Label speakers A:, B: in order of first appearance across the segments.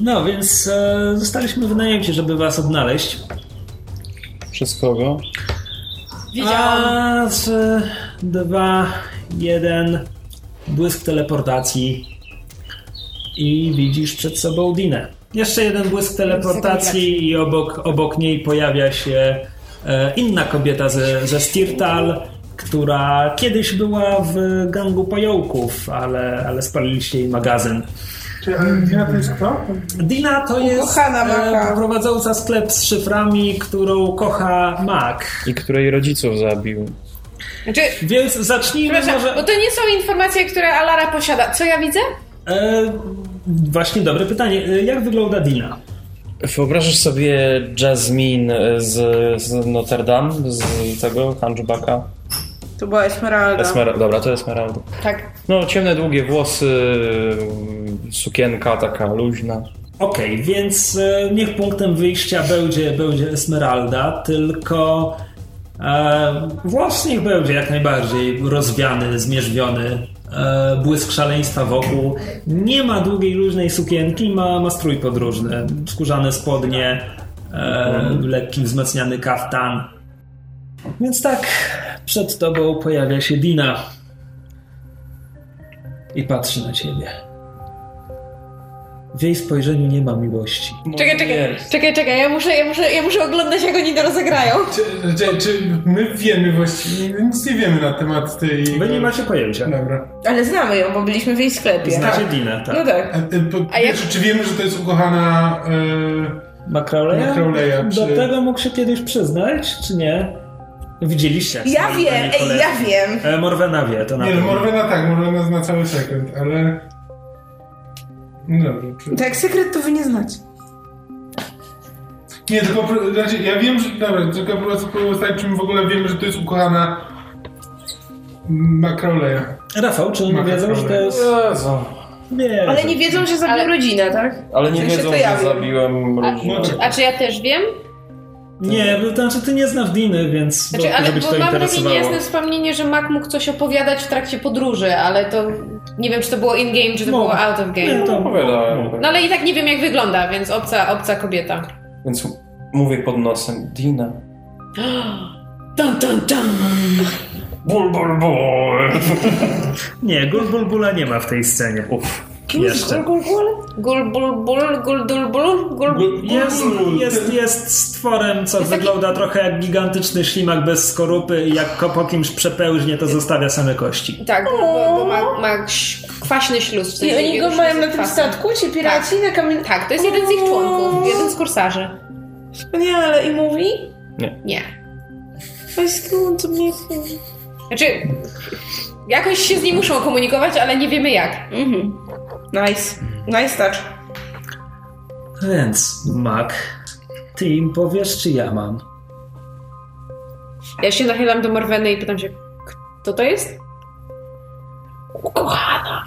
A: No, więc e, zostaliśmy wynajęci, żeby was odnaleźć.
B: Przez kogo?
C: Wiedziałam.
A: A, trzy, dwa, jeden. Błysk teleportacji. I widzisz przed sobą Dinę. Jeszcze jeden błysk teleportacji i obok, obok niej pojawia się e, inna kobieta ze, ze Stirtal, która kiedyś była w gangu pająków, ale, ale spaliliście jej magazyn.
D: Czy Dina to jest kto?
A: Dina to jest
C: Ukochana Maka.
A: e, prowadząca sklep z szyframi, którą kocha Mac.
B: I której rodziców zabił.
C: Znaczy,
A: Więc zacznijmy może...
C: przepraszam, bo to nie są informacje, które Alara posiada. Co ja widzę?
A: E, właśnie dobre pytanie. E, Jak wygląda Dina?
B: Wyobrażasz sobie Jasmine z, z Notre Dame, z tego Hunchbacka?
E: To była Esmeralda.
B: Esmer- Dobra, to Esmeralda.
C: Tak.
B: No, ciemne, długie włosy, sukienka taka luźna.
A: Okej, więc e, niech punktem wyjścia będzie, będzie Esmeralda, tylko e, włos niech będzie jak najbardziej rozwiany, zmierzwiony, e, błysk szaleństwa wokół. Nie ma długiej, luźnej sukienki, ma, ma strój podróżny, skórzane spodnie, e, lekki, wzmacniany kaftan. Więc tak, przed tobą pojawia się Dina i patrzy na ciebie. W jej spojrzeniu nie ma miłości.
C: Czekaj, czekaj, czekaj, czekaj, ja muszę, ja muszę, ja muszę oglądać, jak oni to rozegrają.
D: Czy, czy, czy my wiemy właściwie, nic nie wiemy na temat tej...
A: Wy nie macie pojęcia.
D: Dobra.
E: Ale znamy ją, bo byliśmy w jej sklepie.
A: Znacie Dinę,
E: No
A: tak.
D: A,
E: tak.
D: e, po,
C: A jak-
D: czy, czy wiemy, że to jest ukochana... E,
A: Macaulaya?
D: Macaulaya,
A: Do
D: czy-
A: tego mógł się kiedyś przyznać, czy nie? Widzieliście. jak
E: Ja
A: stoi
E: wiem,
A: pani
E: ej,
A: kolega.
E: ja wiem.
A: E, Morwena wie, to na
D: nie, no,
A: pewno.
D: Morwena tak, Morwena zna cały sekret, ale... No dobrze, czy...
E: Tak, sekret to wy nie znacie.
D: Nie, tylko pro- znaczy, ja wiem, że. Dobra, tylko po prostu pozostać, czy my w ogóle wiemy, że to jest ukochana Makroleja.
A: Rafał, czy oni
D: Macaulay.
A: wiedzą, że to jest...
B: Jezu.
A: Nie.
E: Ale nie wiedzą, że zabił
C: Ale-
E: rodzinę, tak?
B: Ale nie
E: W sensie
B: wiedzą,
E: to ja
B: że
E: wiem.
B: zabiłem
C: A, no,
B: rodzinę.
C: czy- a czy Znaczy, ja też wiem?
A: Nie, bo to znaczy ty nie znasz Diny, więc
C: Znaczy,
A: bo-
C: ale
A: żeby cię
C: bo
A: to
C: mam takie
A: interesowało.
C: niejasne wspomnienie, że Mac mógł coś opowiadać w trakcie podróży, ale to nie wiem, czy to było in-game, czy to
A: Mógł.
E: No.
C: było out of
A: Nie,
C: game.
A: to...
B: Opowiadałem.
C: No ale i tak nie wiem, jak wygląda, więc obca, obca kobieta.
B: Więc mówię pod nosem, Dina.
C: Dun, dun, dun.
B: Bul, bul, bul.
A: Nie, gul, bul, bula nie ma w tej scenie. Uff. Jeszcze.
C: Gul, bul, bul, gul, dul, bul, gul, bul.
A: Jest, jest, jest stworem, co
C: Jest taki-
A: wygląda trochę jak gigantyczny ślimak bez skorupy i jak ko- po kimś przepełźnie, to zostawia same kości.
C: Tak, bo, bo, bo ma, ma ś- kwaśny śluz. W
E: No. I
C: sensie
E: oni
C: jego
E: go
C: śluz
E: mają
C: jest
E: na tym
C: kwaśny.
E: statku, ci piraci na No. kamieniu?
C: Tak, to jest jeden z ich członków, jeden z kursarzy.
E: Tak. No Nie, ale i mówi?
C: Nie.
E: Weź skąd to mnie...
C: Znaczy, jakoś się z nim muszą komunikować, ale nie wiemy jak.
E: Mhm. Nice.
A: Mhm.
E: Nice touch.
A: Więc, Mac, ty im powiesz, czy ja mam?
C: Ja się nachylam do Morweny i pytam się, kto to jest? Ukochana.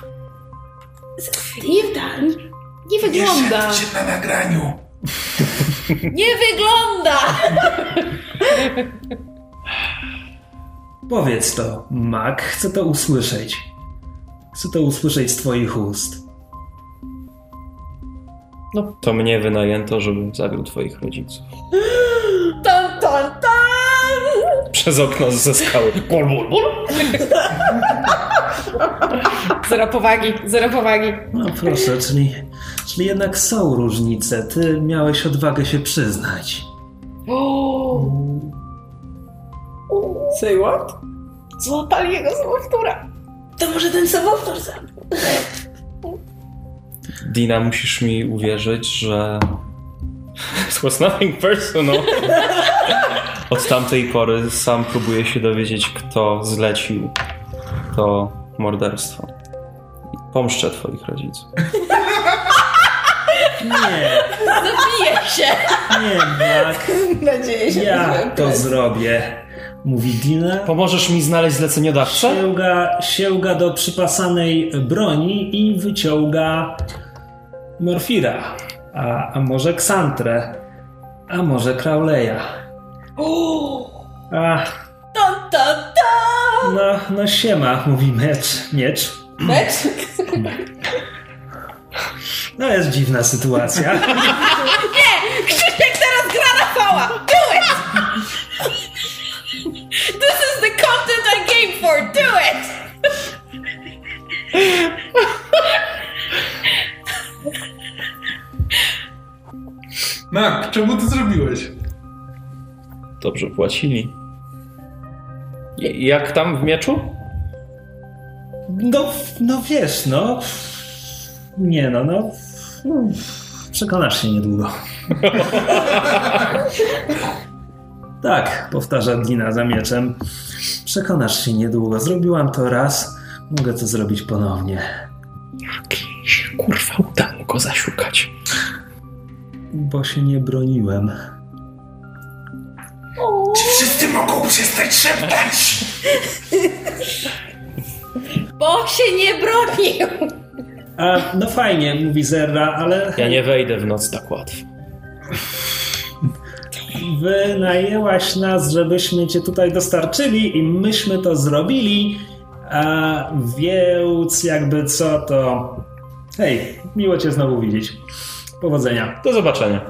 C: Nie, nie wygląda.
D: na nagraniu!
C: Nie wygląda!
A: Powiedz to, Mac, chcę to usłyszeć. Chcę to usłyszeć z twoich ust.
B: To mnie wynajęto, żebym zabił twoich rodziców.
C: Tan, tan, tan!
B: Przez okno ze skały. Bul, bul, bul.
C: Zero powagi, zero powagi.
A: No proszę, czyli, czyli jednak są różnice. Ty miałeś odwagę się przyznać.
E: Say what?
C: Złapali jego złowtóra.
E: To może ten samowtór za.
B: Dina, musisz mi uwierzyć, że. It was nothing personal. Od tamtej pory sam próbuję się dowiedzieć, kto zlecił to morderstwo. I Pomszczę twoich rodziców.
A: Nie,
C: Zabiję się!
A: nie, Mac,
E: Nadzieję się
A: ja to zrobię. Mówi Dina.
B: Pomożesz mi znaleźć zleceniodawcę?
A: Sięga, sięga do przypasanej broni i wyciąga Morfira. A, a może Ksantrę. A może Krauleja. Ach,
C: Tan, tan, tan!
A: no, no siema, mówi mecz, miecz.
E: Mecz?
A: No jest dziwna sytuacja.
E: Krzysiek teraz gra Rafała! Do it!
C: This is the content I came for! Do it!
D: Nak, czemu to zrobiłeś?
B: Dobrze płacili. J- Jak tam w mieczu?
A: No, no wiesz, no. Nie no, no. Przekonasz się niedługo. tak, powtarza Dina za mieczem. Przekonasz się niedługo. Zrobiłam to raz, mogę to zrobić ponownie.
B: Kurwa, udało go zaszukać.
A: Bo się nie broniłem.
D: Wszyscy mogą przestać szeptać!
C: Bo się nie bronił!
A: A, no fajnie, mówi Zerra, ale
B: Ja nie wejdę w noc tak łatwo.
A: wynajęłaś nas, żebyśmy cię tutaj dostarczyli i myśmy to zrobili. A więc jakby co to... Hej, miło cię znowu widzieć. Powodzenia.
B: Do zobaczenia.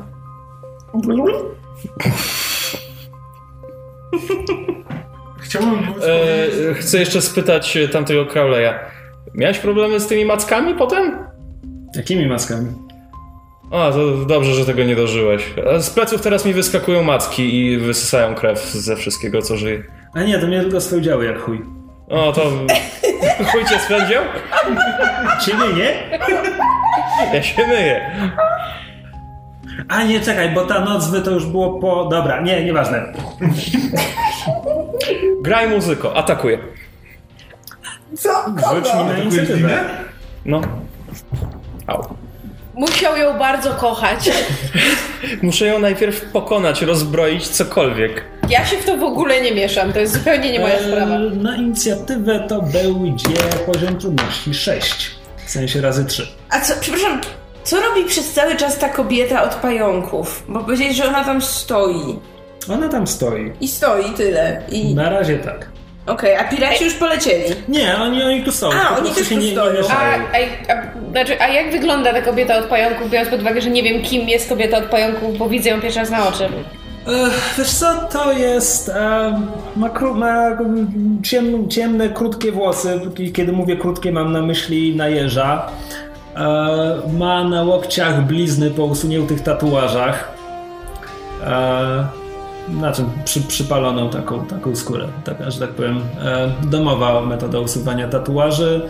D: Chciałbym było
B: E, chcę jeszcze spytać e, tamtego Crowley'a. Miałeś problemy z tymi mackami potem?
A: Jakimi maskami?
B: A, to dobrze, że tego nie dożyłeś. A Z pleców teraz mi wyskakują macki i wysysają krew ze wszystkiego, co żyje.
A: A nie, to mnie tylko spełdziały jak chuj.
B: O, to... Chuj cię spędził?
A: Ciebie nie?
B: Ja się myję.
A: A nie, czekaj, bo ta noc by to już było po... Dobra, nie, nieważne.
B: Graj muzyko, atakuję.
E: Co?
A: Rzuć mi
E: Kogo?
A: na
D: Atakujesz
A: inicjatywę.
D: Dinę?
B: No. Au.
C: Musiał ją bardzo kochać.
B: Muszę ją najpierw pokonać, rozbroić cokolwiek.
C: Ja się w to w ogóle nie mieszam, to jest zupełnie nie moja
A: Eee,
C: sprawa.
A: Na inicjatywę to będzie poziom trudności 6. W sensie razy 3.
E: A co, przepraszam, co robi przez cały czas ta kobieta od pająków? Bo powiedzieć, że ona tam stoi.
A: Ona tam stoi.
E: I stoi tyle. I...
A: Na razie tak.
E: Okej, a piraci już polecieli.
A: Nie, oni, oni tu są.
E: A,
A: po
E: oni
A: prostu
E: też
A: się
E: tu
A: nie,
E: stoją.
A: nie
C: A,
A: ruszają.
F: Tak.
C: a, a, znaczy, a jak wygląda ta kobieta od pająków, biorąc pod uwagę, że nie wiem, kim jest kobieta od pająków, bo widzę ją pierwszy raz na oczy.
A: Ech, Wiesz co, to jest... E, ma kró, ma mm, ciem, ciemne, krótkie włosy. I Kiedy mówię krótkie, mam na myśli na jeża. E, ma na łokciach blizny po usuniętych tatuażach. E, znaczy, przy, przypaloną taką, taką skórę, taka, że tak powiem, e, domowa metoda usuwania tatuaży.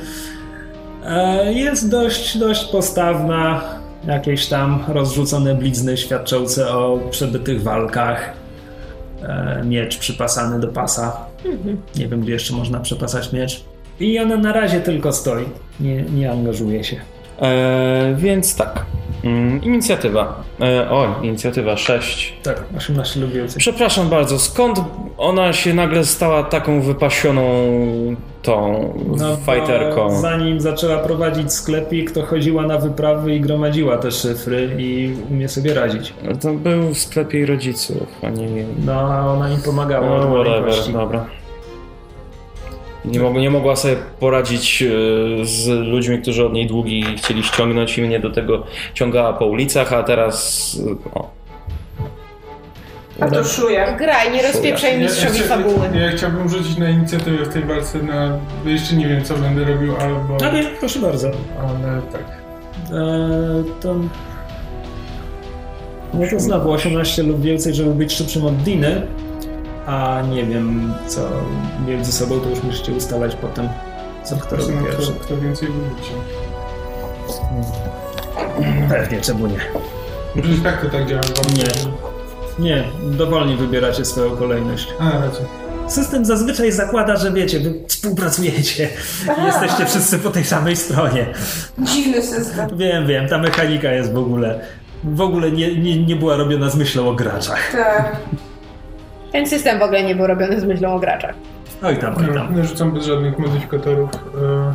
A: E, jest dość, dość postawna. Jakieś tam rozrzucone blizny świadczące o przebytych walkach. E, miecz przypasany do pasa.
E: Mhm.
A: Nie wiem, gdzie jeszcze można przepasać miecz. I ona na razie tylko stoi. Nie, nie angażuje się.
B: Eee, więc tak. Mm, inicjatywa. Eee, o, inicjatywa 6.
A: Tak, 18 lub więcej.
B: Przepraszam bardzo, skąd ona się nagle stała taką wypasioną tą
A: No, bo
B: fighterką?
A: Zanim zaczęła prowadzić sklepik, to chodziła na wyprawy i gromadziła te szyfry i umie sobie radzić.
B: To był w sklepie jej rodziców, a nie jej.
A: No, a ona im pomagała
B: No,
A: od
B: whatever,
A: maleńkości.
B: dobra. Nie, mog- nie mogła sobie poradzić e, z ludźmi, którzy od niej długi chcieli ściągnąć i mnie do tego ciągała po ulicach, a teraz... e, O.
E: A to szuje.
C: Graj, nie rozpieprzaj mistrzowi
D: chcia-
C: fabuły.
D: e, ja chciałbym rzucić na inicjatywę w tej walce na... Jeszcze nie wiem, co będę robił, albo...
A: Okej, proszę bardzo.
D: Ale tak.
A: Eee, to... No to znowu 18 lub więcej, żeby być szybszym od Diny. A nie wiem, co między sobą, to już musicie ustalać potem, co kto robi
D: Zobaczymy,
A: pierwszy.
D: kto, kto więcej wyrzuci.
A: Pewnie, czemu nie?
D: Przecież tak to tak działa. wam-
A: Nie. Nie, dowolnie wybieracie swoją kolejność.
D: A, raczej.
A: System zazwyczaj zakłada, że wiecie, wy współpracujecie i jesteście wszyscy po tej samej stronie.
E: Dziwny system.
A: Wiem, wiem, ta mechanika jest w ogóle. W ogóle nie, nie, nie była robiona z myślą o graczach.
E: Tak.
C: Ten system w ogóle nie był robiony z myślą o graczach.
A: Oj tam, oj tam.
D: Nie rzucam bez żadnych modyfikatorów. E,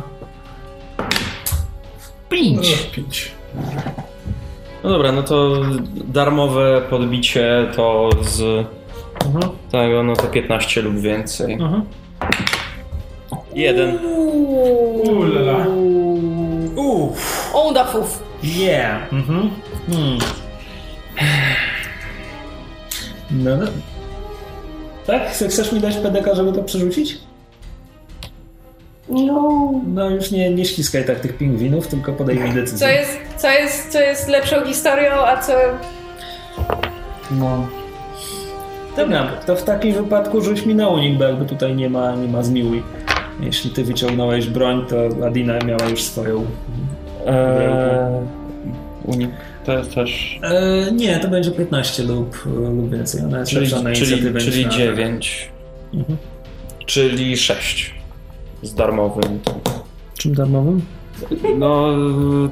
A: Pięć!
D: pić.
B: No dobra, no to darmowe podbicie to z
A: Mhm,
B: tego, no to 15 lub więcej.
A: mhm.
B: Jeden.
D: Ulala.
A: Uff,
C: Onda fuf.
A: Yeah. Mhm. Hmm. No. no. Tak? Chce- Chcesz mi dać PDK, żeby to przerzucić?
E: No.
A: No już nie, nie ściskaj tak tych pingwinów, tylko podaj mi decyzję.
C: Co jest, co, jest, co jest lepszą historią, a co...
A: No. Dobra, to w takim wypadku rzuć mi na unik, bo jakby tutaj nie ma, nie ma zmiłuj. Jeśli ty wyciągnąłeś broń, to Adina miała już swoją.
B: Eee, unik to jest też.
A: E, nie, to będzie 15 lub, e, lub więcej. Ona jest
B: Czyli,
A: lepsza na
B: czyli,
A: inicjatywę
B: czyli
A: niż na-
B: 9.
A: Mhm.
B: Czyli 6. Z darmowym.
A: Czym darmowym?
B: No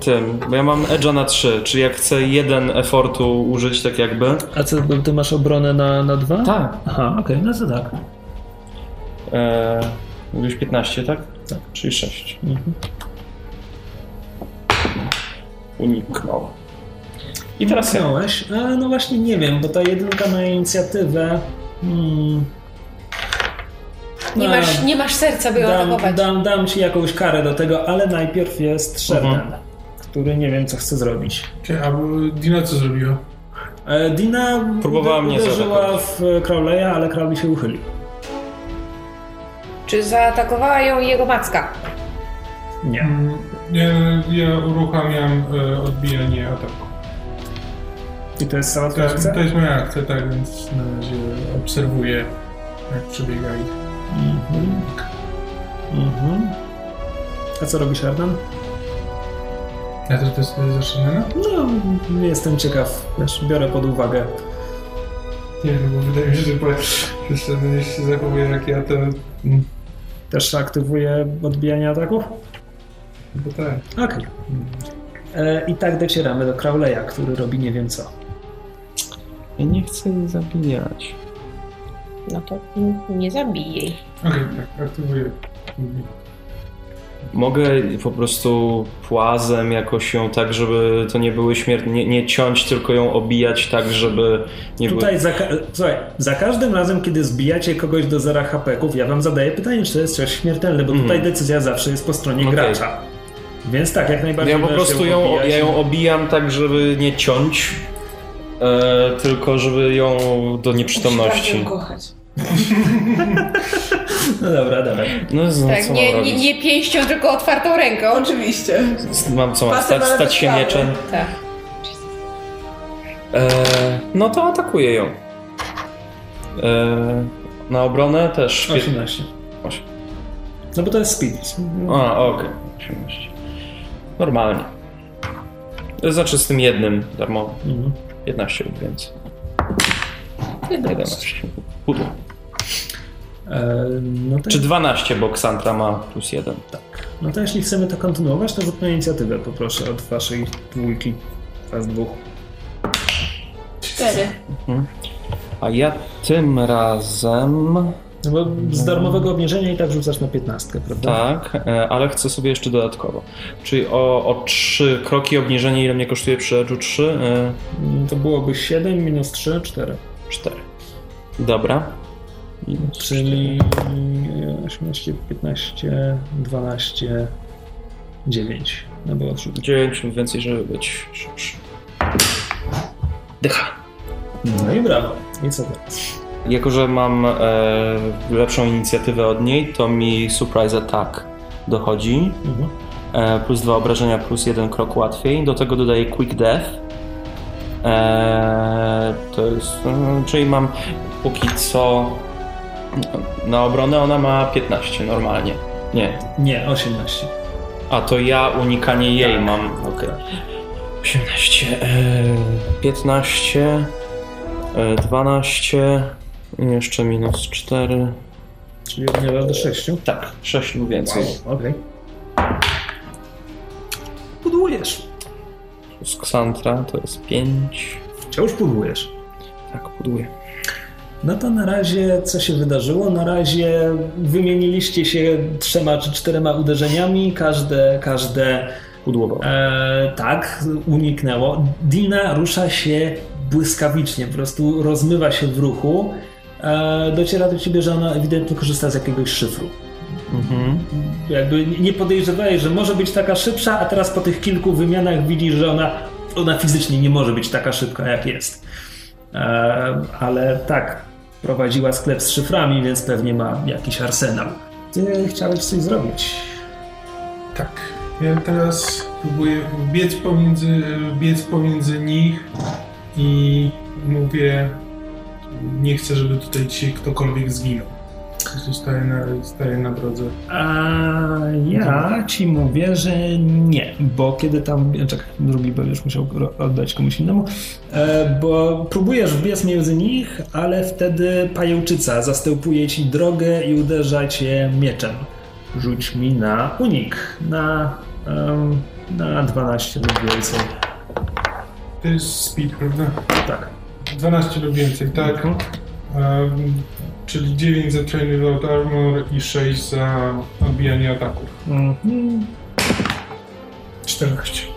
B: tym. Bo ja mam edge'a na 3. Czyli jak chcę jeden efortu użyć tak jakby.
A: A co, bo ty masz obronę na, na dwa?
B: Tak.
A: Aha, okej, no to tak.
B: Eee, mówisz 15, tak?
A: Tak.
B: Czyli 6.
A: Mhm.
B: Uniknął. I teraz ja.
A: Wziąłeś? E, no właśnie nie wiem, bo ta jedynka na inicjatywę... Hmm,
C: Nie
A: A,
C: masz, nie masz serca, by ją
A: No. dam,
C: atakować.
A: dam, dam ci jakąś karę do tego, ale najpierw jest Sherman,
B: Mhm.
A: który nie wiem co chce zrobić.
D: Czy, a bo Dina co zrobiła?
A: E, Dina
B: Próbowała mnie
A: uderzyła
B: zaatakować.
A: w Crowley'a, ale Crowley się uchylił.
C: Czy zaatakowała ją jego macka?
A: Nie.
D: Mm, Ja, ja uruchamiam e, odbijanie ataku.
A: I to jest cała
D: To, jest-
A: trakcja?
D: to jest moja akcja, tak, więc na razie obserwuję, jak przebiega ich.
A: Mhm. Mhm. A co robi Sherman?
D: Ja to to jest zaczynane?
A: No, jestem ciekaw. Też biorę pod uwagę.
D: Nie wiem, bo wydaje mi się, że po- jeszcze będziesz się zachowuje jak ja, to... mm,
A: Też aktywuje odbijanie ataków?
D: Bo tak.
A: Okej. E, I tak docieramy do Crowley'a, który robi nie wiem co.
B: Ja nie chcę jej zabijać.
C: No to nie zabij jej.
D: Okej, tak, aktywuję.
B: Mogę po prostu płazem jakoś ją tak, żeby to nie były śmiertelne, nie, nie ciąć, tylko ją obijać tak, żeby nie były...
A: Tutaj za, ka- słuchaj, za każdym razem, kiedy zbijacie kogoś do zera hapeków, ja wam zadaję pytanie, czy to jest coś śmiertelne, bo
B: Mhm.
A: tutaj decyzja zawsze jest po stronie
B: Okej.
A: gracza. Więc tak, jak najbardziej.
B: Ja po
A: możesz
B: prostu ją,
A: obijać.
B: ja ją obijam tak, żeby nie ciąć, e, tylko żeby ją do nieprzytomności.
E: kochać.
A: No dobra, dawaj.
B: No z- no,
C: Tak,
B: co
C: nie,
B: mam
C: nie,
B: robić?
C: nie pięścią, tylko otwartą ręką.
E: Oczywiście.
B: Mam co, mam
E: Pasem,
B: stać,
E: ale
B: stać
E: bez
B: się
E: prawa.
B: mieczem?
C: Tak.
B: E, no to atakuję ją. E, na obronę też. pię-
A: 18.
B: Osiem.
A: No bo to jest speed.
B: A, okej. 18. Normalnie. To Znaczy z tym jednym darmowo.
A: Mhm.
B: 15 lub więcej. 11. Pudło.
A: E, no, to,
B: Czy 12, bo Xantra ma plus 1.
A: no to jeśli chcemy to kontynuować, to rzutnę inicjatywę poproszę od waszej dwójki. Was dwóch.
E: Cztery.
B: A ja tym razem.
A: No bo z darmowego obniżenia i tak rzucasz na 15, prawda?
B: Tak, e, ale chcę sobie jeszcze dodatkowo. Czyli o, o 3 kroki obniżenie, ile mnie kosztuje przy edge'u e, 3?
A: Mm, To byłoby 7 minus 3, 4.
B: 4. Dobra. Minus
A: Czyli e, 18, 15, 12, 9. No było trzy.
B: 9 lub więcej, żeby być szybszy. Dycha.
A: No i brawo. I co teraz?
B: Jako, że mam e, lepszą inicjatywę od niej, to mi surprise attack dochodzi.
A: Mhm.
B: E, plus dwa obrażenia, plus jeden krok łatwiej. Do tego dodaję quick death. E, to jest. mm, czyli mam póki co. Na obronę ona ma 15 normalnie. Nie.
A: Nie, 18.
B: A to ja unikanie jej mam. Tak. Okej. 18. E, 15. E, 12. i Jeszcze minus 4.
A: Czyli obniżasz do 6.
B: Tak, 6 lub więcej.
A: Okej. Pudłujesz.
B: Plus Xantra to jest 5.
A: Wciąż pudłujesz.
B: Tak, buduję.
A: No to na razie co się wydarzyło? Na razie wymieniliście się trzema czy czterema uderzeniami. Każde, każde
B: Pudłował.
A: E, tak, uniknęło. Dina rusza się błyskawicznie, po prostu rozmywa się w ruchu. E, dociera do ciebie, że ona ewidentnie korzysta z jakiegoś szyfru.
B: Mhm.
A: Jakby nie podejrzewałeś, że może być taka szybsza, a teraz po tych kilku wymianach widzisz, że ona, ona fizycznie nie może być taka szybka, jak jest. E, ale tak, prowadziła sklep z szyframi, więc pewnie ma jakiś arsenał. Ty chciałeś coś zrobić.
D: Tak. Ja teraz próbuję biec pomiędzy, biec pomiędzy nich i mówię, nie chcę, żeby tutaj dzisiaj ktokolwiek zginął. Po prostu Staję na, staję na drodze.
A: A ja ci mówię, że nie, bo kiedy tam. Czekaj, drugi będziesz musiał ro- oddać komuś innemu. E, bo próbujesz wbiec między nich, ale wtedy pajęczyca zastępuje ci drogę i uderza cię mieczem. Rzuć mi na unik. Na, em, na 12 lub więcej.
D: To jest speed, prawda?
A: Tak.
D: 12 lub więcej, tak?
A: Mhm.
D: Em, czyli 9 za Train Without Armor i 6 za obijanie ataków.
A: Mhm.
D: 14.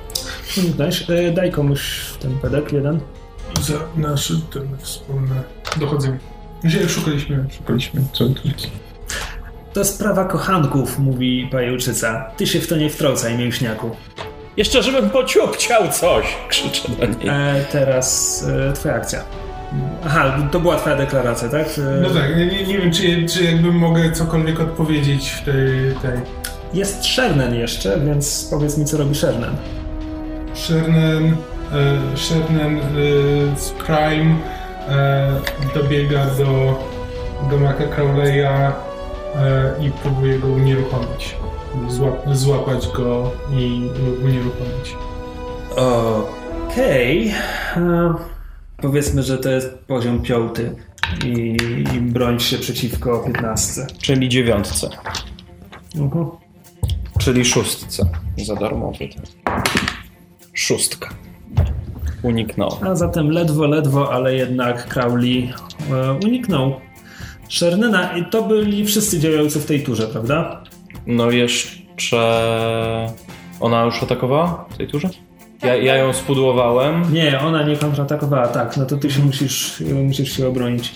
A: Uniknąłeś. E, daj komuś ten pedek jeden.
D: Za nasze ten wspólne dochodzenie. Gdzie szukaliśmy? Szukaliśmy. Co to jest?
A: To sprawa kochanków, mówi pajęczyca. Ty się w to nie wtrącaj, mięśniaku.
B: Jeszcze żebym pociupciał coś! Krzyczę do niej.
A: E, teraz e, twoja akcja. Aha, to była twoja deklaracja, tak? E,
D: No tak, nie, nie, nie wiem, czy, czy jakby mogę cokolwiek odpowiedzieć w tej... tej.
A: Jest Szernen jeszcze, więc powiedz mi, co robi Szernen.
D: Shernen, e, Shernen e, z Prime e, dobiega do, do Maka Crowley'a e, i próbuje go unieruchomić. Zła, złapać go i unieruchomić.
A: Okej. E, Powiedzmy, że to jest poziom piąty i, i broń się przeciwko 15.
B: Czyli dziewiątce.
A: Mhm.
B: Czyli szóstce. Za darmowy. ten. Szóstka. Uniknąłem.
A: A zatem ledwo, ledwo, ale jednak Crowley e, uniknął Szernena. I to byli wszyscy działający w tej turze, prawda?
B: No jeszcze... Ona już atakowała w tej turze? Ja, ja ją spudłowałem.
A: Nie, ona nie kontratakowała, tak. No to ty się musisz, musisz się obronić.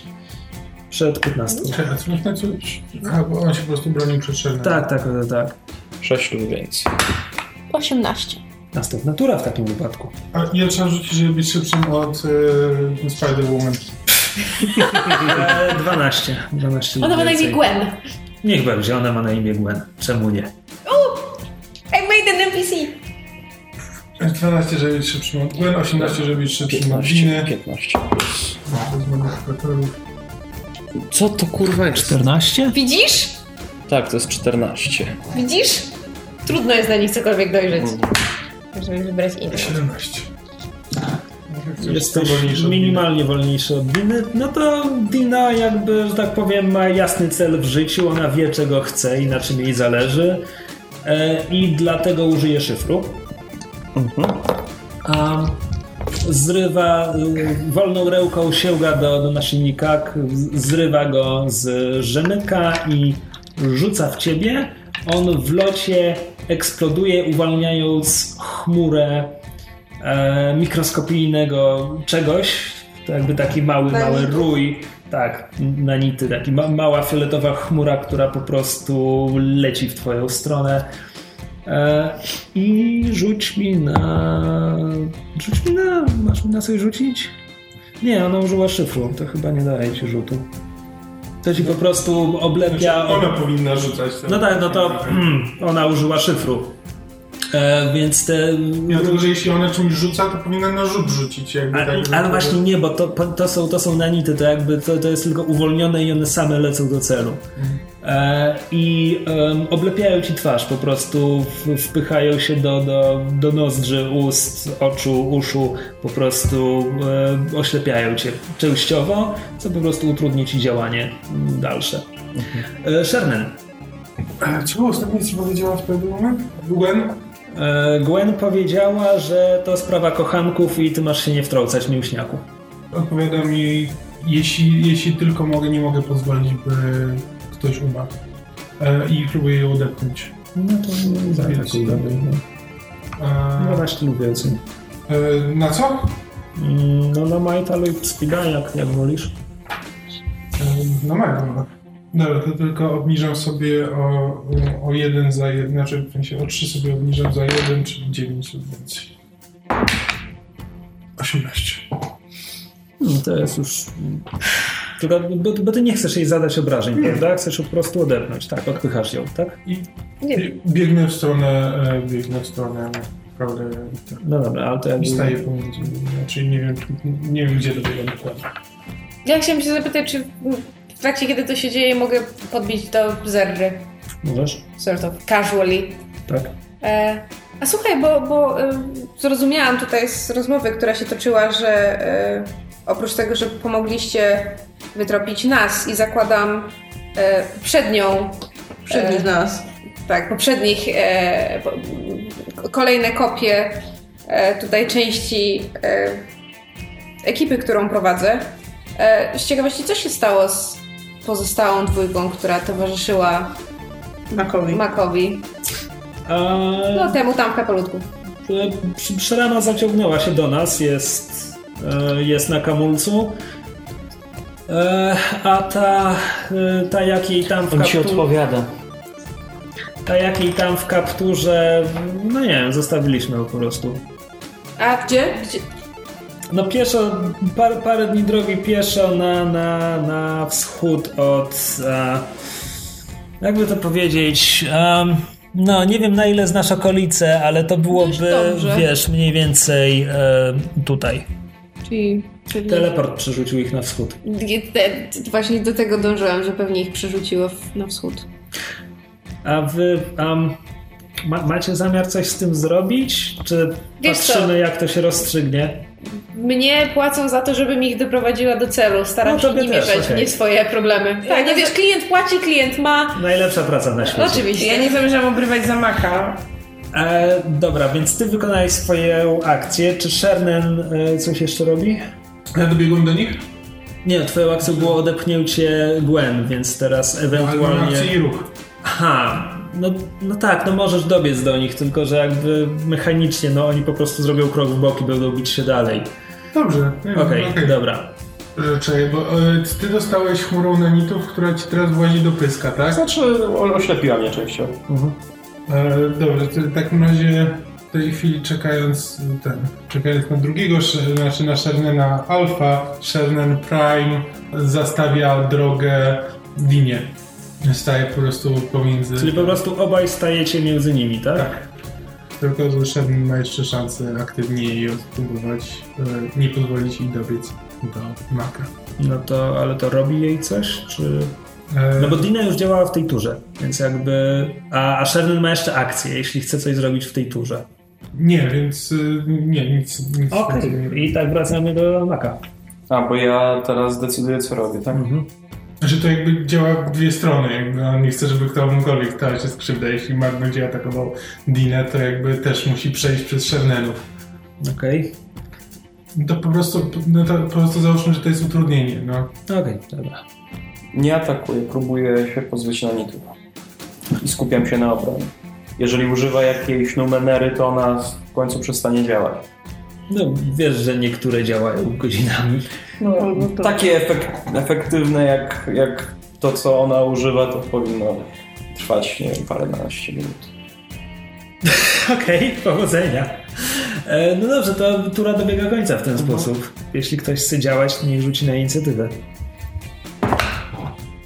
A: Przed 15.
D: Czekaj, a co można coś? A, bo on się po prostu bronił przed Shernem.
A: Tak, tak, tak, tak.
B: Sześć lub więcej.
C: 18.
A: Następna tura w takim wypadku.
D: A Tak, ja trzeba rzucić, żeby być szybszym od e, Spider-Woman.
A: E, 12. 12
F: No
C: Ona ma na
A: więcej.
C: imię Gwen.
A: Niech będzie, ona ma na imię Gwen. Czemu nie?
C: I made an NPC.
D: 12, żeby być szybszym od Gwen, 18, żeby być szybszym od
B: 15,
D: Winy.
B: 15.
D: To jest modyfikatorów.
B: Co to kurwa jest?
A: 14?
C: Widzisz?
B: Tak, to jest 14.
C: Widzisz? Trudno jest na nich cokolwiek dojrzeć. Żeby wybrać inny.
D: 17.
A: Jesteś minimalnie wolniejszy od Diny. No to Dina jakby, że tak powiem, ma jasny cel w życiu. Ona wie, czego chce i na czym jej zależy. E, I dlatego użyje szyfru. A zrywa y, wolną ręką, sięga do, do nasilnika, k- z- zrywa go z rzemyka i rzuca w ciebie. On w locie eksploduje, uwalniając chmurę e, mikroskopijnego czegoś, to jakby taki mały, mały rój, tak, nanity, taki ma, mała fioletowa chmura, która po prostu leci w twoją stronę. E, I rzuć mi na... Rzuć mi na... Masz mi na coś rzucić? Nie, ona użyła szyfru, to chyba nie daje ci rzutu. To ci po prostu oblepia...
D: Znaczy, Ona powinna rzucać. ten-
A: No tak, no to ona użyła szyfru. E, więc te...
D: Ja tylko, że jeśli ona czymś rzuca, to powinna na rzut rzucić. Jakby, tak, żeby-
A: Ale, ale właśnie nie, bo to, to, są, to są nanity, to jakby to, to jest tylko uwolnione i one same lecą do celu. E, I em, oblepiają ci twarz, po prostu w, wpychają się do, do, do nozdrzy, ust, oczu, uszu, po prostu e, oślepiają cię częściowo, co po prostu utrudni ci działanie mm, dalsze. E, Shernen,
D: A, E, Czemu ostatnio ci powiedziała w pewnym momencie? Gwen?
A: e, Gwen powiedziała, że to sprawa kochanków i ty masz się nie wtrącać, mięśniaku.
D: Odpowiada mi, jeśli, jeśli tylko mogę, nie mogę pozwolić, by ktoś umarł. E, I próbuję ją odepchnąć.
A: No to nie
D: zaatakuj.
A: No
D: E,
A: właśnie, lubię więcej.
D: e, na co?
A: Mm, No na Majta lub Spida, jak, jak wolisz.
D: E, na mega. Dobra, to tylko obniżam sobie o, o jeden za jeden, znaczy w sensie o trzy sobie obniżam za jeden, czyli dziewięć lub więcej. 18.
A: No to jest już... Tylko, bo, bo ty nie chcesz jej zadać obrażeń, prawda? Chcesz ją po prostu odepnąć, tak? Odpychasz ją, tak?
F: Nie
D: Bie- Biegnę w stronę, e, biegnę w stronę naprawdę tak,
A: No dobra, ale to
D: i
A: jakby...
D: staję pomiędzy nimi, znaczy nie wiem, nie wiem gdzie dobiegam dokładnie.
F: Ja chciałam się zapytać, czy w trakcie, kiedy to się dzieje, mogę podbić do zerry.
A: Możesz?
F: Sort of casually.
A: Tak.
F: E, a słuchaj, bo, bo e, zrozumiałam tutaj z rozmowy, która się toczyła, że e, oprócz tego, że pomogliście wytropić nas i zakładam e, przednią,
E: Przednich
F: E,
E: nas.
F: tak, poprzednich, e, po, m, kolejne kopie e, tutaj części e, ekipy, którą prowadzę. E, z ciekawości, co się stało z pozostałą dwójką, która towarzyszyła
E: Makowi.
F: Makowi?
A: Eee,
F: No temu tam w kapelutku.
A: E, przy- Przerana zaciągnęła się do nas, jest, e, jest na kamulcu. E, A ta, e, ta jak jej tam w
B: On ci
A: kapturze,
B: odpowiada.
A: ta jak jej tam w kapturze, no nie wiem, zostawiliśmy ją po prostu.
F: A gdzie? gdzie?
A: No pieszo, par, parę dni drogi pieszo na, na, na wschód od, e, jakby to powiedzieć, em, no nie wiem na ile znasz okolice, ale to byłoby,
E: dobrze.
A: wiesz, mniej więcej e, tutaj.
F: Czyli, czyli
A: Teleport przerzucił ich na wschód.
F: Gdzie te- właśnie do tego dążyłam, że pewnie ich przerzuciło w- na wschód.
A: A wy am, ma, macie zamiar coś z tym zrobić? Czy
F: Wiesz
A: patrzymy,
F: co?
A: jak to się rozstrzygnie?
F: Mnie płacą za to, żebym ich doprowadziła do celu. Staram
A: No,
F: się
A: tobie
F: nie
A: też,
F: mieszać
A: okej.
F: nie swoje problemy.
E: Ja
F: Tak,
E: nie
F: no wiesz, klient płaci, klient ma.
A: Najlepsza praca na świecie.
F: Oczywiście.
E: Ja nie zamierzam obrywać zamaka.
A: E, dobra, więc ty wykonałeś swoją akcję. Czy Shernen e, coś jeszcze robi?
D: Ja dobiegłem do nich?
A: Nie, twoją akcją było odepchnięcie Gwen, więc teraz
D: Ale mam
A: ewentualnie...
D: akcję i ruch.
A: Aha, no, no tak, no możesz dobiec do nich, tylko że jakby mechanicznie, no oni po prostu zrobią krok w bok i będą bić się dalej.
D: Dobrze. nie wiem,
A: Mhm, Okej, dobra.
D: Czekaj, bo e, ty dostałeś chmurą nanitów, która ci teraz włazi do pyska, tak?
B: Znaczy, o- oślepiła mnie częściowo.
D: E, dobrze, to w takim razie w tej chwili czekając e, ten, czekając na drugiego, sz- znaczy na Shernena Alpha, Shernen Prime zastawia drogę Dinie. Staje po prostu pomiędzy...
A: Czyli po prostu obaj stajecie między nimi, tak?
D: Tak. Tylko że Shernen ma jeszcze szansę aktywniej odpływać, e, nie pozwolić jej dobiec do maka.
A: No to, ale to robi jej coś, czy...
D: E,
A: No bo Dina już działała w tej turze, więc jakby... A, a Sherman ma jeszcze akcję, jeśli chce coś zrobić w tej turze.
D: Nie, więc y, nie, nic. nic więcej nie-
A: I tak wracamy do Maka.
B: A, bo ja teraz decyduję, co robię, tak?
D: Że Znaczy, to jakby działa w dwie strony. Jakby on nie chce, żeby komukolwiek stała się skrzywda. Jeśli Mark będzie atakował Dinę, to jakby też musi przejść przez Shernelów.
A: Okej.
D: To po prostu, no to po prostu załóżmy, że to jest utrudnienie, no.
A: Okej, dobra.
B: Nie atakuję, próbuję się pozbyć na nitów. I skupiam się na obronie. Jeżeli używa jakiejś numenery, to ona w końcu przestanie działać.
A: No wiesz, że niektóre działają godzinami.
E: Albo to.
B: Takie efek- efektywne jak, jak to, co ona używa, to powinno trwać, nie wiem, paręnaście minut.
A: Okej, powodzenia. E, no dobrze, to tura dobiega końca w ten sposób. Jeśli ktoś chce działać, niech rzuci na inicjatywę.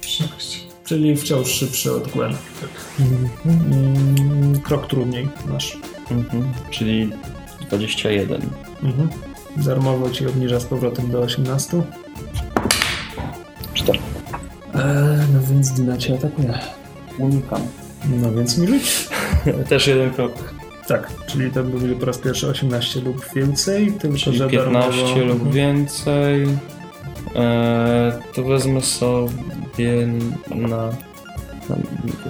D: Szybkość.
A: Czyli wciąż szybszy od Gwen. Mhm. Mm, Krok trudniej masz.
B: Mhm. Czyli 21.
A: Mhm. Darmowo ci obniża z powrotem do 18.
B: 4.
A: Eee, no więc Dina cię atakuje.
B: Unikam.
A: No więc mi rzuć.
B: Też jeden krok.
A: Tak, czyli to byli po raz pierwszy 18 lub więcej, tylko że
B: Czyli 15
A: darmowo...
B: lub więcej. Eee, to wezmę sobie na, na,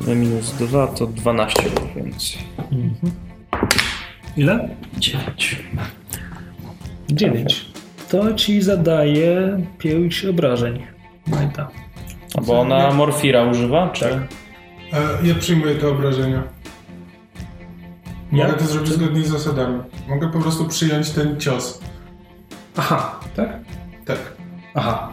B: na minus 2, to 12 lub więcej.
A: Mhm. Ile?
B: 9.
A: 9. To ci zadaje 5 obrażeń. Majta.
B: A bo ona morfira używa, czy?
D: E, ja przyjmuję te obrażenia. Mogę
A: Jak?
D: to zrobić zgodnie z zasadami. Mogę po prostu przyjąć ten cios.
A: Aha, tak?
D: Tak.
A: Aha.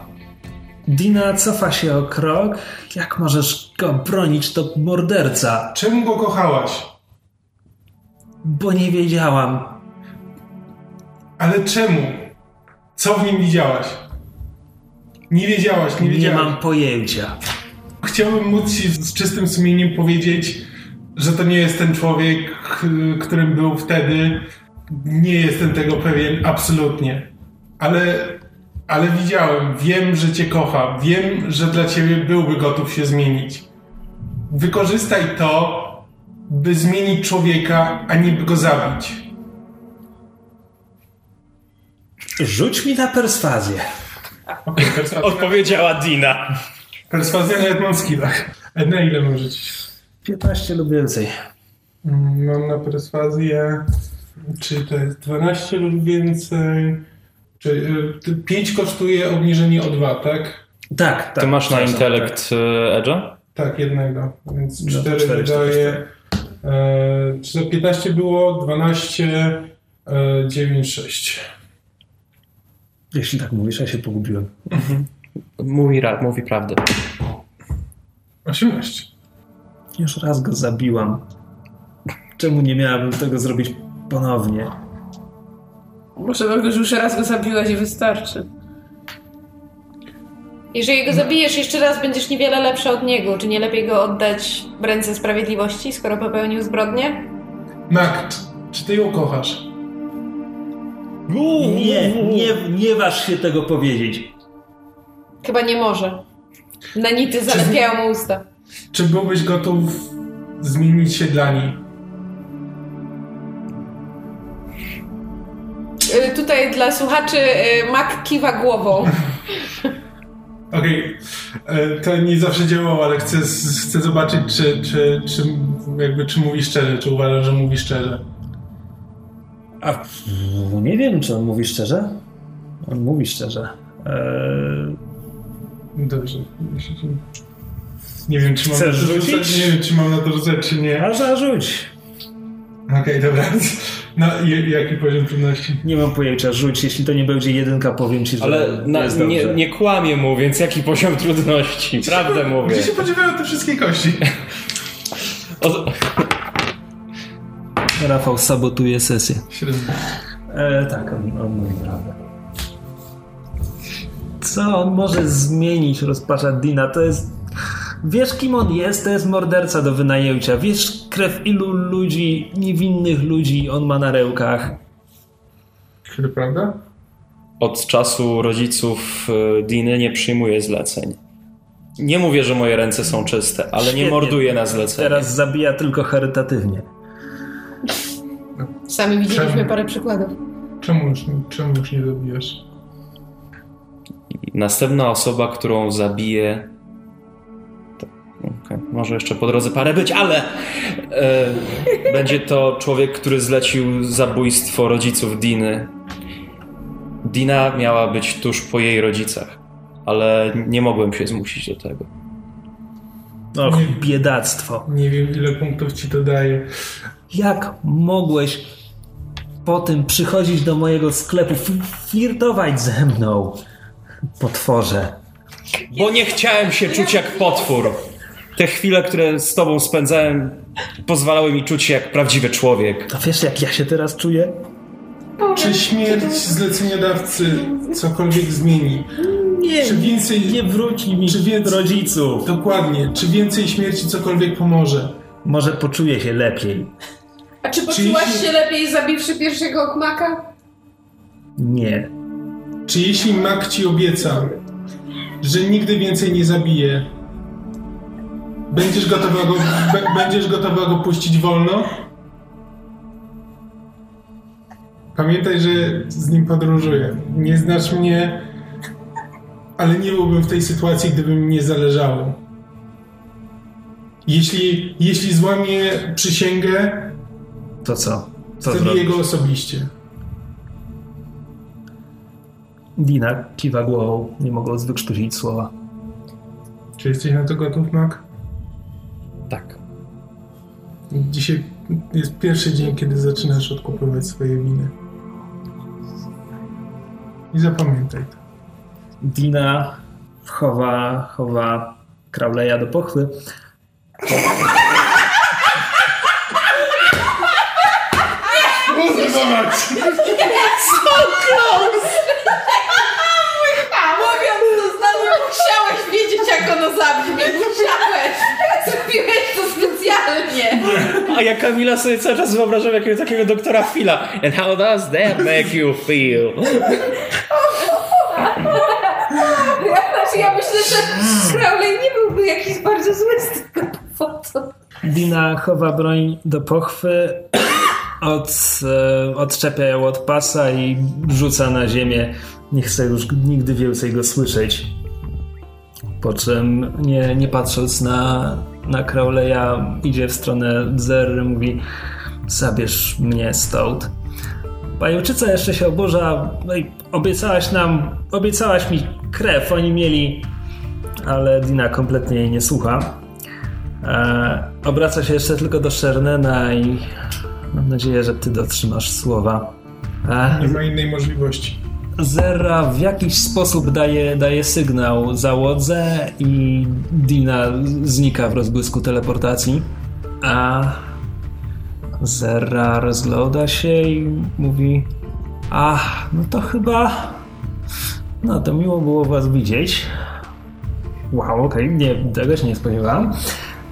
A: Dina cofa się o krok. Jak możesz go bronić, to morderca.
D: Czemu go kochałaś?
A: Bo nie wiedziałam.
D: Ale czemu? Co w nim widziałaś? Nie wiedziałaś, nie
A: Nie
D: wiedziałaś.
A: mam pojęcia.
D: Chciałbym móc ci z czystym sumieniem powiedzieć, że to nie jest ten człowiek, k- którym był wtedy. Nie jestem tego pewien, absolutnie. Ale, ale widziałem, wiem, że cię kocha, wiem, że dla ciebie byłby gotów się zmienić. Wykorzystaj to, by zmienić człowieka, a nie by go zabić.
A: Rzuć mi na perswazję.
D: Okej, perswazja,
B: Odpowiedziała Dina.
D: perswazja nawet mam w skillach. E, Na ile mam rzucić?
A: 15 lub więcej.
D: Mm, Mam na perswazję. Czy to jest 12 lub więcej? Czy 5 kosztuje obniżenie o 2, tak?
A: Tak, tak.
B: Ty masz na
A: przepraszam,
B: intelekt e, Edge'a?
D: Tak, jednego. Więc
A: No,
D: 4
A: cztery,
D: wydaje. E, czy to 15 było? 12, e, 9, 6.
A: Jeśli tak mówisz, ja się pogubiłem.
B: Mówi, ra- mówi prawdę.
D: 18.
A: Już raz go zabiłam. Czemu nie miałabym tego zrobić ponownie?
E: Może dlatego, że już raz go zabiłaś i wystarczy.
C: Jeżeli go zabijesz jeszcze raz, będziesz niewiele lepszy od niego. Czy nie lepiej go oddać w ręce sprawiedliwości, skoro popełnił zbrodnię?
D: Nak, czy ty ją kochasz?
A: Nie, nie, nie waż się tego powiedzieć.
C: Chyba nie może. Nanity zalepiają mu usta.
D: Czy byłbyś gotów zmienić się dla niej?
C: Y, Tutaj dla słuchaczy y, Mac kiwa głową.
D: Okej, e, to nie zawsze działało, ale chcę, s- chcę zobaczyć, czy, czy, czy, jakby, czy mówi szczerze, czy uważa, że mówi szczerze.
A: A pff, nie wiem, czy on mówi szczerze. On mówi szczerze. Eee,
D: Dobrze. Nie wiem, czy mam
A: Chcesz
D: na to rzucać,
A: rzucić?
D: nie wiem, czy mam na to rzucać, czy nie.
A: a zarzuć.
D: Okej, dobra. No, i, jaki poziom trudności?
A: Nie mam pojęcia, rzuć. Jeśli to nie będzie jedynka, powiem ci, że
B: Ale na,
A: jest
B: nie,
A: dobrze.
B: nie kłamie mu, więc jaki poziom trudności? Prawdę mówię.
D: Gdzie się podziewają te wszystkie kości?
B: O,
A: Rafał sabotuje sesję.
D: Średnio.
A: E, tak, on, on mówi prawdę. Co on może zmienić, rozpacza Dina? To jest. Wiesz, kim on jest? To jest morderca do wynajęcia. Wiesz, krew ilu ludzi, niewinnych ludzi on ma na rękach.
D: Kiedy, prawda?
B: od czasu rodziców e, Diny nie przyjmuję zleceń. Nie mówię, że moje ręce są czyste, ale nie
A: Świetnie.
B: morduję na zlecenie.
A: Teraz zabija tylko charytatywnie.
C: Sami widzieliśmy
D: Czemu?
C: parę przykładów.
D: Czemu już, czemu już nie dobijasz?
B: Następna osoba, którą zabiję. To- okej, Może jeszcze po drodze parę być, ale e, będzie to człowiek, który zlecił zabójstwo rodziców Diny. Dina miała być tuż po jej rodzicach, ale nie mogłem się zmusić do tego.
A: Och,
D: Nie.
A: biedactwo.
D: Nie wiem, ile punktów ci to daje.
A: Jak mogłeś po tym przychodzić do mojego sklepu, fl- flirtować ze mną? Potworze.
B: Bo nie chciałem się czuć jak potwór. Te chwile, które z tobą spędzałem, pozwalały mi czuć się jak prawdziwy człowiek.
A: A wiesz, jak ja się teraz czuję?
D: Czy śmierć zleceniodawcy cokolwiek zmieni?
A: Nie,
D: Czy więcej-
A: nie wróci mi
D: czy więcej-
A: rodziców.
D: Dokładnie. Czy więcej śmierci cokolwiek pomoże?
A: Może poczuję się lepiej.
C: A czy
D: Czyli-
C: poczułaś się lepiej zabiwszy pierwszego okmaka?
A: Nie.
D: Czy jeśli Mak ci obieca, że nigdy więcej nie zabije, będziesz gotowa go, be, będziesz gotowa go puścić wolno? Pamiętaj, że z nim podróżuję. Nie znasz mnie, ale nie byłbym w tej sytuacji, gdyby mi nie zależało. Jeśli, jeśli złamie przysięgę,
A: To co? Co
D: zabiję
A: zrobić?
D: go osobiście.
A: Dina kiwa głową, nie mogąc wykrztusić słowa.
D: Czy jesteś na to gotów, Mak?
B: Tak.
D: Dzisiaj jest pierwszy dzień, kiedy zaczynasz odkupywać swoje winy. I zapamiętaj to.
A: Dina chowa, chowa Crowleya do pochwy.
D: Uzyskować!
C: Mówiąc to znowu No, musiałeś wiedzieć, jak ono zabrzmi. Musiałeś. Zrobiłeś to specjalnie.
B: A ja Kamila sobie cały czas wyobrażam jakiegoś takiego doktora Phila. And how does that make you feel?
C: Ja, znaczy, ja myślę, że Crowley nie byłby jakiś bardzo zły z tego powodu.
A: Dina chowa broń do pochwy, od, e, odczepia ją od pasa i rzuca na ziemię. Nie chce już nigdy więcej go słyszeć. Po czym, nie, nie patrząc na, na Crowleya, idzie w stronę Zerry, mówi zabierz mnie stąd. Pajęczyca jeszcze się oburza. No i obiecałaś nam, obiecałaś mi krew, oni mieli, ale Dina kompletnie jej nie słucha. E, obraca się jeszcze tylko do Szernena i mam nadzieję, że ty dotrzymasz słowa. E,
D: Nie ma innej możliwości.
A: Zera w jakiś sposób daje, daje sygnał załodze i Dina znika w rozbłysku teleportacji. A Zera rozgląda się i mówi: Ach, no to chyba. No to miło było was widzieć. Wow, okej, nie, tego się nie spodziewałam.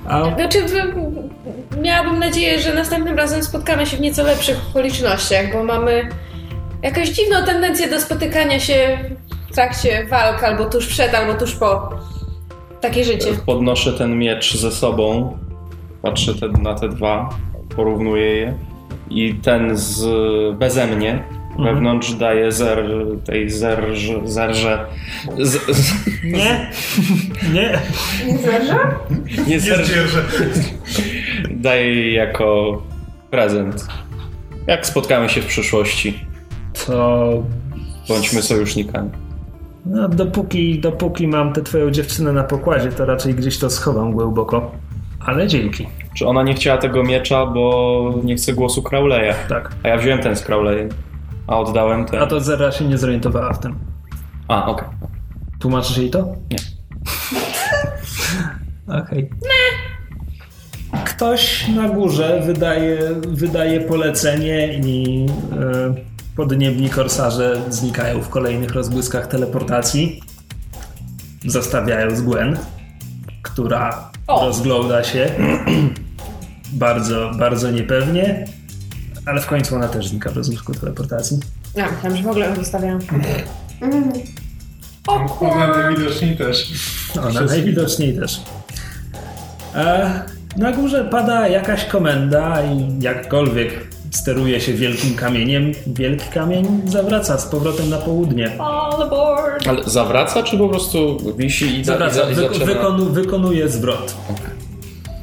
A: A
F: Znaczy, w- miałabym nadzieję, że następnym razem spotkamy się w nieco lepszych okolicznościach, bo mamy jakąś dziwną tendencję do spotykania się w trakcie walk, albo tuż przed, albo tuż po. Takie życie.
B: Podnoszę ten miecz ze sobą, patrzę te, na te dwa, porównuję je i ten z beze mnie
A: Mhm.
B: wewnątrz daje zer, tej zerż, zerże. Z, z,
A: nie, nie.
C: Nie zdarza?
B: nie
D: Nie
B: zerże,
D: zdzierżę.
B: daje jej jako prezent. Jak spotkamy się w przyszłości,
A: To
B: bądźmy sojusznikami.
A: No, dopóki, dopóki mam tę twoją dziewczynę na pokładzie, to raczej gdzieś to schowam głęboko. Ale dzięki,
B: Czy ona nie chciała tego miecza, bo nie chce głosu Crowleya?
A: tak.
B: A ja wziąłem ten z Crowley, a oddałem ten.
A: A to Zera się nie zorientowała w tym.
B: A, okej.
A: Tłumaczysz jej to?
B: Nie.
A: Okej. Ktoś na górze wydaje, wydaje polecenie i e, podniebni korsarze znikają w kolejnych rozbłyskach teleportacji. Zostawiając Gwen, która rozgląda się bardzo, bardzo niepewnie, ale w końcu ona też znika w rozbłysku teleportacji.
F: No, tam już w ogóle zostawiam.
D: Ona najwidoczniej też.
A: Ona
D: Wszystkich.
A: No, najwidoczniej też. E, na górze pada jakaś komenda i jakkolwiek steruje się wielkim kamieniem, wielki kamień zawraca z powrotem na południe.
F: All aboard!
B: Ale zawraca, czy po prostu wisi i, za, i,
A: Zawraca,
B: za, i
A: wyko-
B: zaczyna?
A: wykonu, wykonuje zwrot.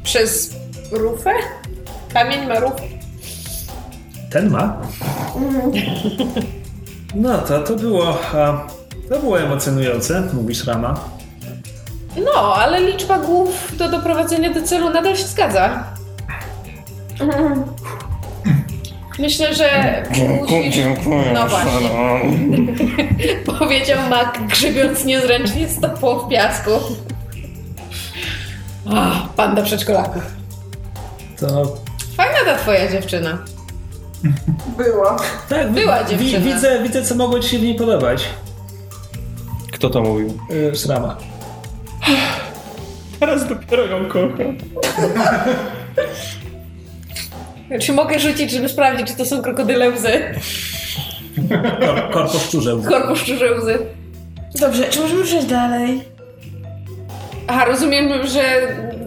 C: Przez rufę? Kamień ma rufę.
A: Ten ma. No to to było. A, to było emocjonujące, mówisz Rama.
F: No, ale liczba głów do doprowadzenia do celu nadal się zgadza. Myślę, że musisz... No właśnie. Powiedział Mac, grzebiąc niezręcznie stopą w piasku. Ah, panda przedszkolaków.
A: To
F: Fajna ta twoja dziewczyna.
C: Było.
A: tak, wi-
F: Była
A: wi-
F: dziewczyna.
A: widzę, widzę, co mogło ci się w niej podobać.
B: Kto to mówił?
A: Y, Szrama.
B: Teraz dopiero ją kocham.
F: Czy mogę rzucić, żeby sprawdzić, czy to są krokodyle łzy?
A: Kor- korpo szczurze.
F: Korpus szczurze łzy.
E: Dobrze, czy możemy przejść dalej?
F: Aha, rozumiem, że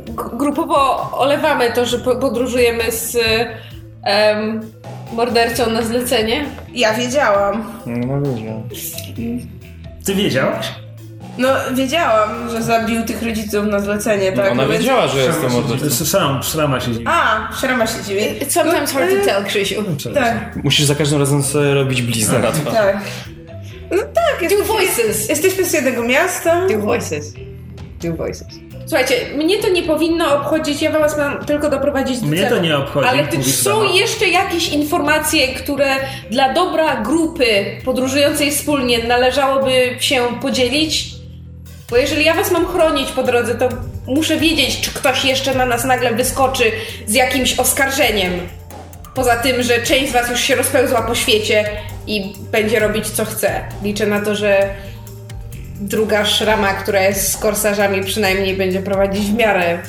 F: g- grupowo olewamy to, że po- podróżujemy z em, mordercą na zlecenie.
E: Ja wiedziałam.
B: No dobrze.
A: Ty wiedziałaś?
E: No, wiedziałam, że zabił tych rodziców na zlecenie, tak?
B: Ona
E: No więc-
B: wiedziała, że jestem mordercą.
A: Słyszałam, Szrama się dziwi.
E: A, szerema się dziwi.
F: Sometimes hard to tell, Krzysiu.
A: No,
E: Tak,
B: Musisz za każdym razem sobie robić bliznę na twarz.
E: tak. No tak,
F: Two
E: jest,
F: voices.
E: jesteśmy z jednego miasta.
F: voices. Two voices. Słuchajcie, mnie to nie powinno obchodzić, ja was mam tylko doprowadzić do
A: Mnie
F: celu.
A: to nie obchodzi,
F: Ale ty,
A: mówi
F: czy są
A: Sama.
F: jeszcze jakieś informacje, które dla dobra grupy podróżującej wspólnie należałoby się podzielić? Bo jeżeli ja was mam chronić po drodze, to muszę wiedzieć, czy ktoś jeszcze na nas nagle wyskoczy z jakimś oskarżeniem. Poza tym, że część z was już się rozpełzła po świecie i będzie robić co chce. Liczę na to, że druga szrama, która jest z korsarzami, przynajmniej będzie prowadzić w miarę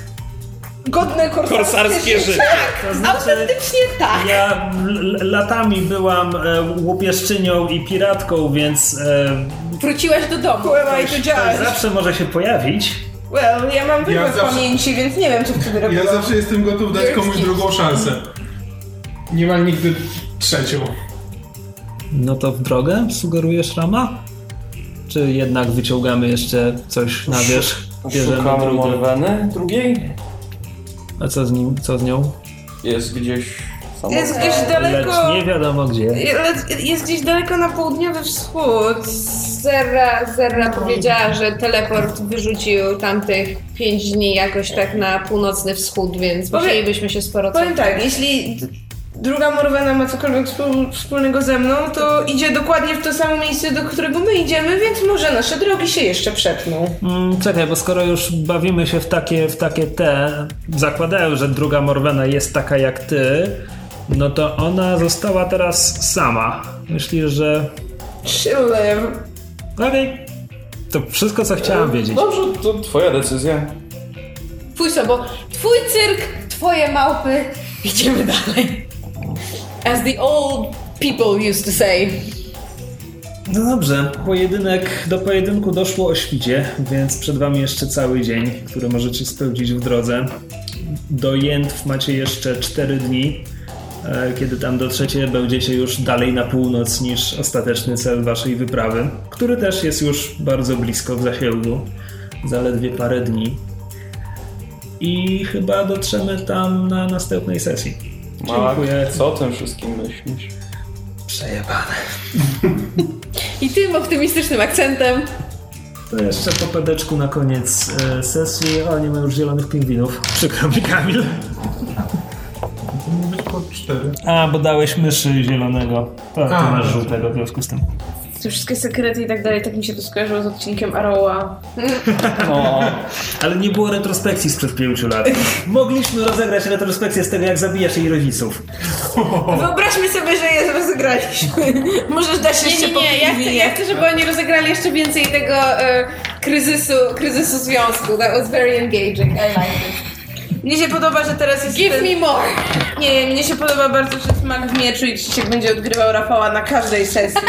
F: godne korsarskie,
B: Korsarskie życie.
F: Tak,
A: To znaczy-
F: autentycznie tak.
A: Ja l- l- latami byłam e, łupieszczynią i piratką, więc e,
F: Wróciłaś do domu.
E: Who am I to
A: to
E: judge?
A: zawsze może się pojawić.
E: Well, ja mam wybór
D: zawsze-
E: pamięci, więc nie wiem, co wtedy robiłam.
D: Ja zawsze jestem gotów dać komuś drugą szansę. Niemal nigdy trzecią.
A: No to w drogę, sugerujesz Rama? Czy jednak wyciągamy jeszcze coś na wierzch? Bierzemy
B: Szukamy
A: drugą.
B: Morweny drugiej?
A: A co z nim, co z nią?
B: Jest gdzieś samochód.
E: Jest gdzieś
A: Lecz
E: daleko...
A: nie wiadomo gdzie.
E: Jest, jest gdzieś daleko na południowy wschód.
F: Zerra, Zerra powiedziała, że teleport wyrzucił tamtych pięć dni jakoś tak na północny wschód, więc
E: Powiem-
F: musielibyśmy się sporo
E: Powiem tak, jeśli d- druga Morwena ma cokolwiek współ- wspólnego ze mną, to idzie dokładnie w to samo miejsce, do którego my idziemy, więc może nasze drogi się jeszcze przetną.
A: Mm, czekaj, bo skoro już bawimy się w takie, w takie te, zakładają, że druga Morwena jest taka jak ty, no to ona została teraz sama. Myślisz, że...
E: Chiller.
A: Okej. To wszystko, co chciałam wiedzieć.
B: Dobrze, to twoja decyzja.
F: Twój sobo, twój cyrk, twoje małpy, idziemy dalej. As the old people used to say.
A: No dobrze, pojedynek, do pojedynku doszło o świcie, więc przed wami jeszcze cały dzień, który możecie spędzić w drodze. Do Jętw macie jeszcze 4 dni. E, Kiedy tam dotrzecie, będziecie już dalej na północ niż ostateczny cel waszej wyprawy, który też jest już bardzo blisko w zasięgu, zaledwie parę dni. I chyba dotrzemy tam na następnej sesji.
B: Mała,
A: Dziękuję.
B: co o tym wszystkim myślisz?
A: Przejebane.
F: I tym optymistycznym akcentem
A: To jeszcze po pedeczku na koniec e, sesji. O, nie ma już zielonych pingwinów. Przykro mi, Kamil.
D: Powinno być po cztery.
A: A, bo dałeś myszy zielonego. To ty
D: A.
A: masz żółtego w związku z tym.
E: Te wszystkie sekrety i tak dalej, tak mi się to skojarzyło z odcinkiem Arrowa.
B: No,
A: Ale nie było retrospekcji sprzed pięciu lat. Mogliśmy rozegrać retrospekcję z tego, jak zabijasz jej rodziców.
E: Wyobraźmy sobie, że je rozegraliśmy. Możesz dać
F: Nie,
E: jeszcze
F: nie,
E: po
F: nie, ja chcę,
E: piwinie.
F: ja chcę, żeby oni rozegrali jeszcze więcej tego e, kryzysu, kryzysu związku. That was very engaging. I like it.
E: Mnie się podoba, że teraz jest...
F: Give me more!
E: Nie, mnie się podoba bardzo, że smak w mieczu i Krzysiek będzie odgrywał Rafała na każdej sesji.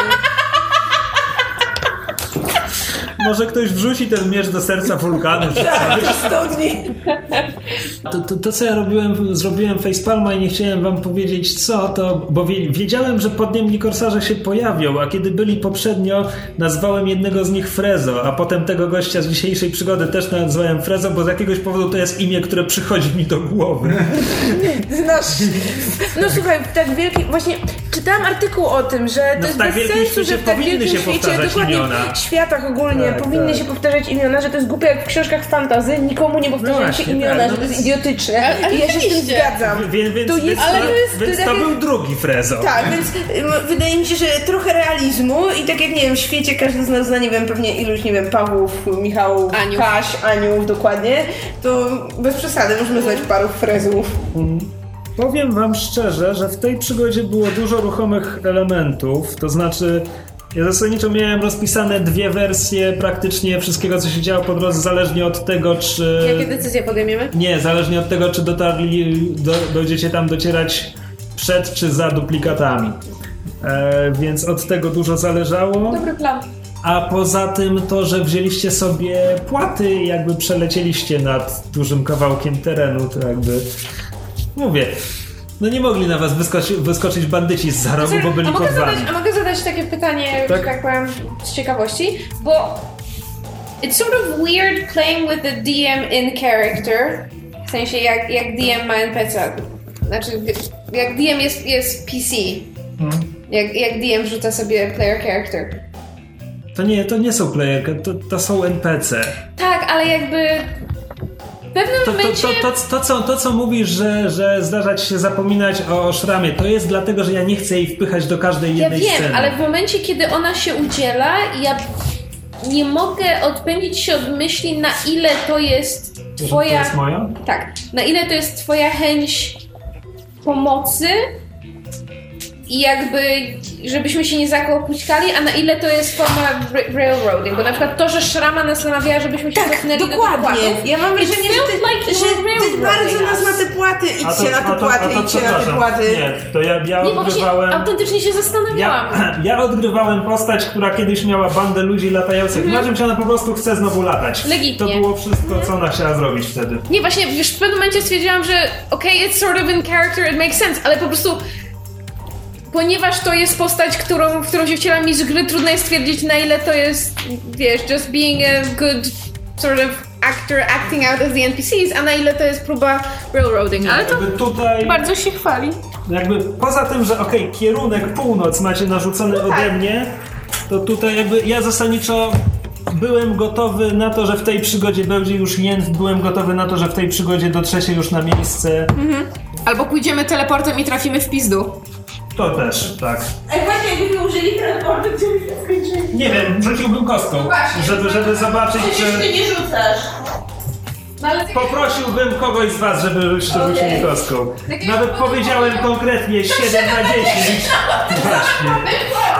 A: Może ktoś wrzuci ten miecz do serca wulkanu. czy coś.
E: Tak, Studni.
A: To, to, to co ja robiłem, zrobiłem facepalma i nie chciałem wam powiedzieć co, to bo wie, wiedziałem, że pod nim korsarze się pojawią, a kiedy byli poprzednio, nazwałem jednego z nich Frezo, a potem tego gościa z dzisiejszej przygody też nazwałem Frezo, bo z jakiegoś powodu to jest imię, które przychodzi mi do głowy.
E: Nasz... No słuchaj, w tak wielki... Właśnie czytałam artykuł o tym, że to
A: No,
E: jest
A: w tak
E: bez
A: wielkim
E: sensu, że
A: świecie
E: w tak
A: powinny
E: wielkim
A: się
E: świecie,
A: powtarzać
E: dokładnie
A: imiona.
E: w światach ogólnie,
A: Tak,
E: powinny
A: tak.
E: się powtarzać imiona, że to jest głupie jak w książkach fantazy, nikomu nie powtarzają się
A: właśnie,
E: imiona,
A: tak, no
E: że to jest
A: więc-
E: idiotyczne.
F: ale
E: I ja się z tym
F: oczywiście.
E: zgadzam.
A: Więc, więc,
E: To jest-
A: więc,
E: ale
A: to,
E: to jest- to
A: więc
E: jest
A: to
E: takie-
A: był drugi Frezo.
E: Tak, więc ym, wydaje mi się, że trochę realizmu i tak jak nie wiem, w świecie każdy z nas zna, nie wiem, pewnie iluś, nie wiem, Pawłów, Michałów,
F: Aniów.
E: Kaś, Aniów dokładnie, to bez przesady możemy znać paru frezów.
A: Powiem wam szczerze, że w tej przygodzie było dużo ruchomych elementów, to znaczy ja zasadniczo miałem rozpisane dwie wersje praktycznie wszystkiego, co się działo po drodze, zależnie od tego, czy...
F: Jakie decyzje podejmiemy?
A: Nie, zależnie od tego, czy dotarli, do, będziecie tam docierać przed czy za duplikatami. E, więc od tego dużo zależało.
F: Dobry plan.
A: A poza tym to, że wzięliście sobie płaty i jakby przelecieliście nad dużym kawałkiem terenu, to jakby... Mówię, no nie mogli na was wyskoczy, wyskoczyć bandyci z za rogu, bo byli
F: a,
A: pod
F: mogę zadać,
A: wami.
F: a mogę zadać takie pytanie, tak.
A: Tak.
F: że tak powiem, z ciekawości? Bo it's sort of weird playing with the DM in character. W sensie jak, jak DM ma NPC. Znaczy jak DM jest, jest PC.
A: Mhm.
F: Jak, jak DM wrzuca sobie player character.
A: To nie, to nie są player, to, to są NPC.
F: Tak, ale jakby w pewnym
A: To, to,
F: momencie...
A: to, to, to, co, to co mówisz, że, że zdarzać się zapominać o szramie, to jest dlatego, że ja nie chcę jej wpychać do każdej
F: ja
A: jednej
F: wiem,
A: sceny.
F: ale w momencie, kiedy ona się udziela, ja nie mogę odpędzić się od myśli, na ile to jest twoja...
A: To jest moja?
F: Tak. Na ile to jest Twoja chęć pomocy i jakby, żebyśmy się nie zakłopućkali, a na ile to jest forma ra- railroading? Bo na przykład to, że Szrama nas namawiała, żebyśmy się cofnęli do tych
E: Tak, Dokładnie.
F: płatów.
E: Ja mam wrażenie,
F: It
E: że ty,
F: feels like
E: że
F: you were
E: ty bardzo
F: railroading
E: nas na
F: us.
E: te płaty,
A: A
E: idźcie na
A: a
E: te płaty,
A: a to
E: idźcie na te
A: przepraszam.
E: płaty.
A: Nie, to ja, ja
F: Nie, bo właśnie
A: odgrywałem...
F: autentycznie się zastanawiałam.
A: Ja, ja odgrywałem postać, która kiedyś miała bandę ludzi latających na czymś, ona po prostu chce znowu latać.
F: Mhm. Legitnie. Mhm.
A: To było wszystko, co ona chciała zrobić wtedy.
F: Nie, właśnie już w pewnym momencie stwierdziłam, że okej, it's sort of in character, it makes sense, ale po prostu ponieważ to jest postać, którą, w którą się wcielam i z gry, trudno jest stwierdzić na ile to jest, wiesz, just being a good sort of actor acting out as the NPCs, a na ile to jest próba railroading, ale to
A: Jakby tutaj,
F: bardzo się chwali.
A: jakby poza tym, że okej, kierunek północ macie narzucony
F: No tak.
A: ode mnie, to tutaj jakby ja zasadniczo byłem gotowy na to, że w tej przygodzie będzie już jęt, byłem gotowy na to, że w tej przygodzie dotrze się już na miejsce.
F: Albo pójdziemy teleportem i trafimy w pizdu.
A: To też, tak.
E: Ej, właśnie jakbyśmy użyli transportu, gdzie byśmy skończyli.
A: Nie wiem, rzuciłbym kostką,
E: No właśnie. tak.
A: żeby, żeby zobaczyć,
E: Przecież
A: czy...
E: ty nie rzucasz.
F: No ale
A: Poprosiłbym kogoś z was, żeby rzucił
E: Okej.
A: kostką.
F: Tak jak
A: Nawet
F: podpowiem.
A: powiedziałem konkretnie 7 na 10. Właśnie.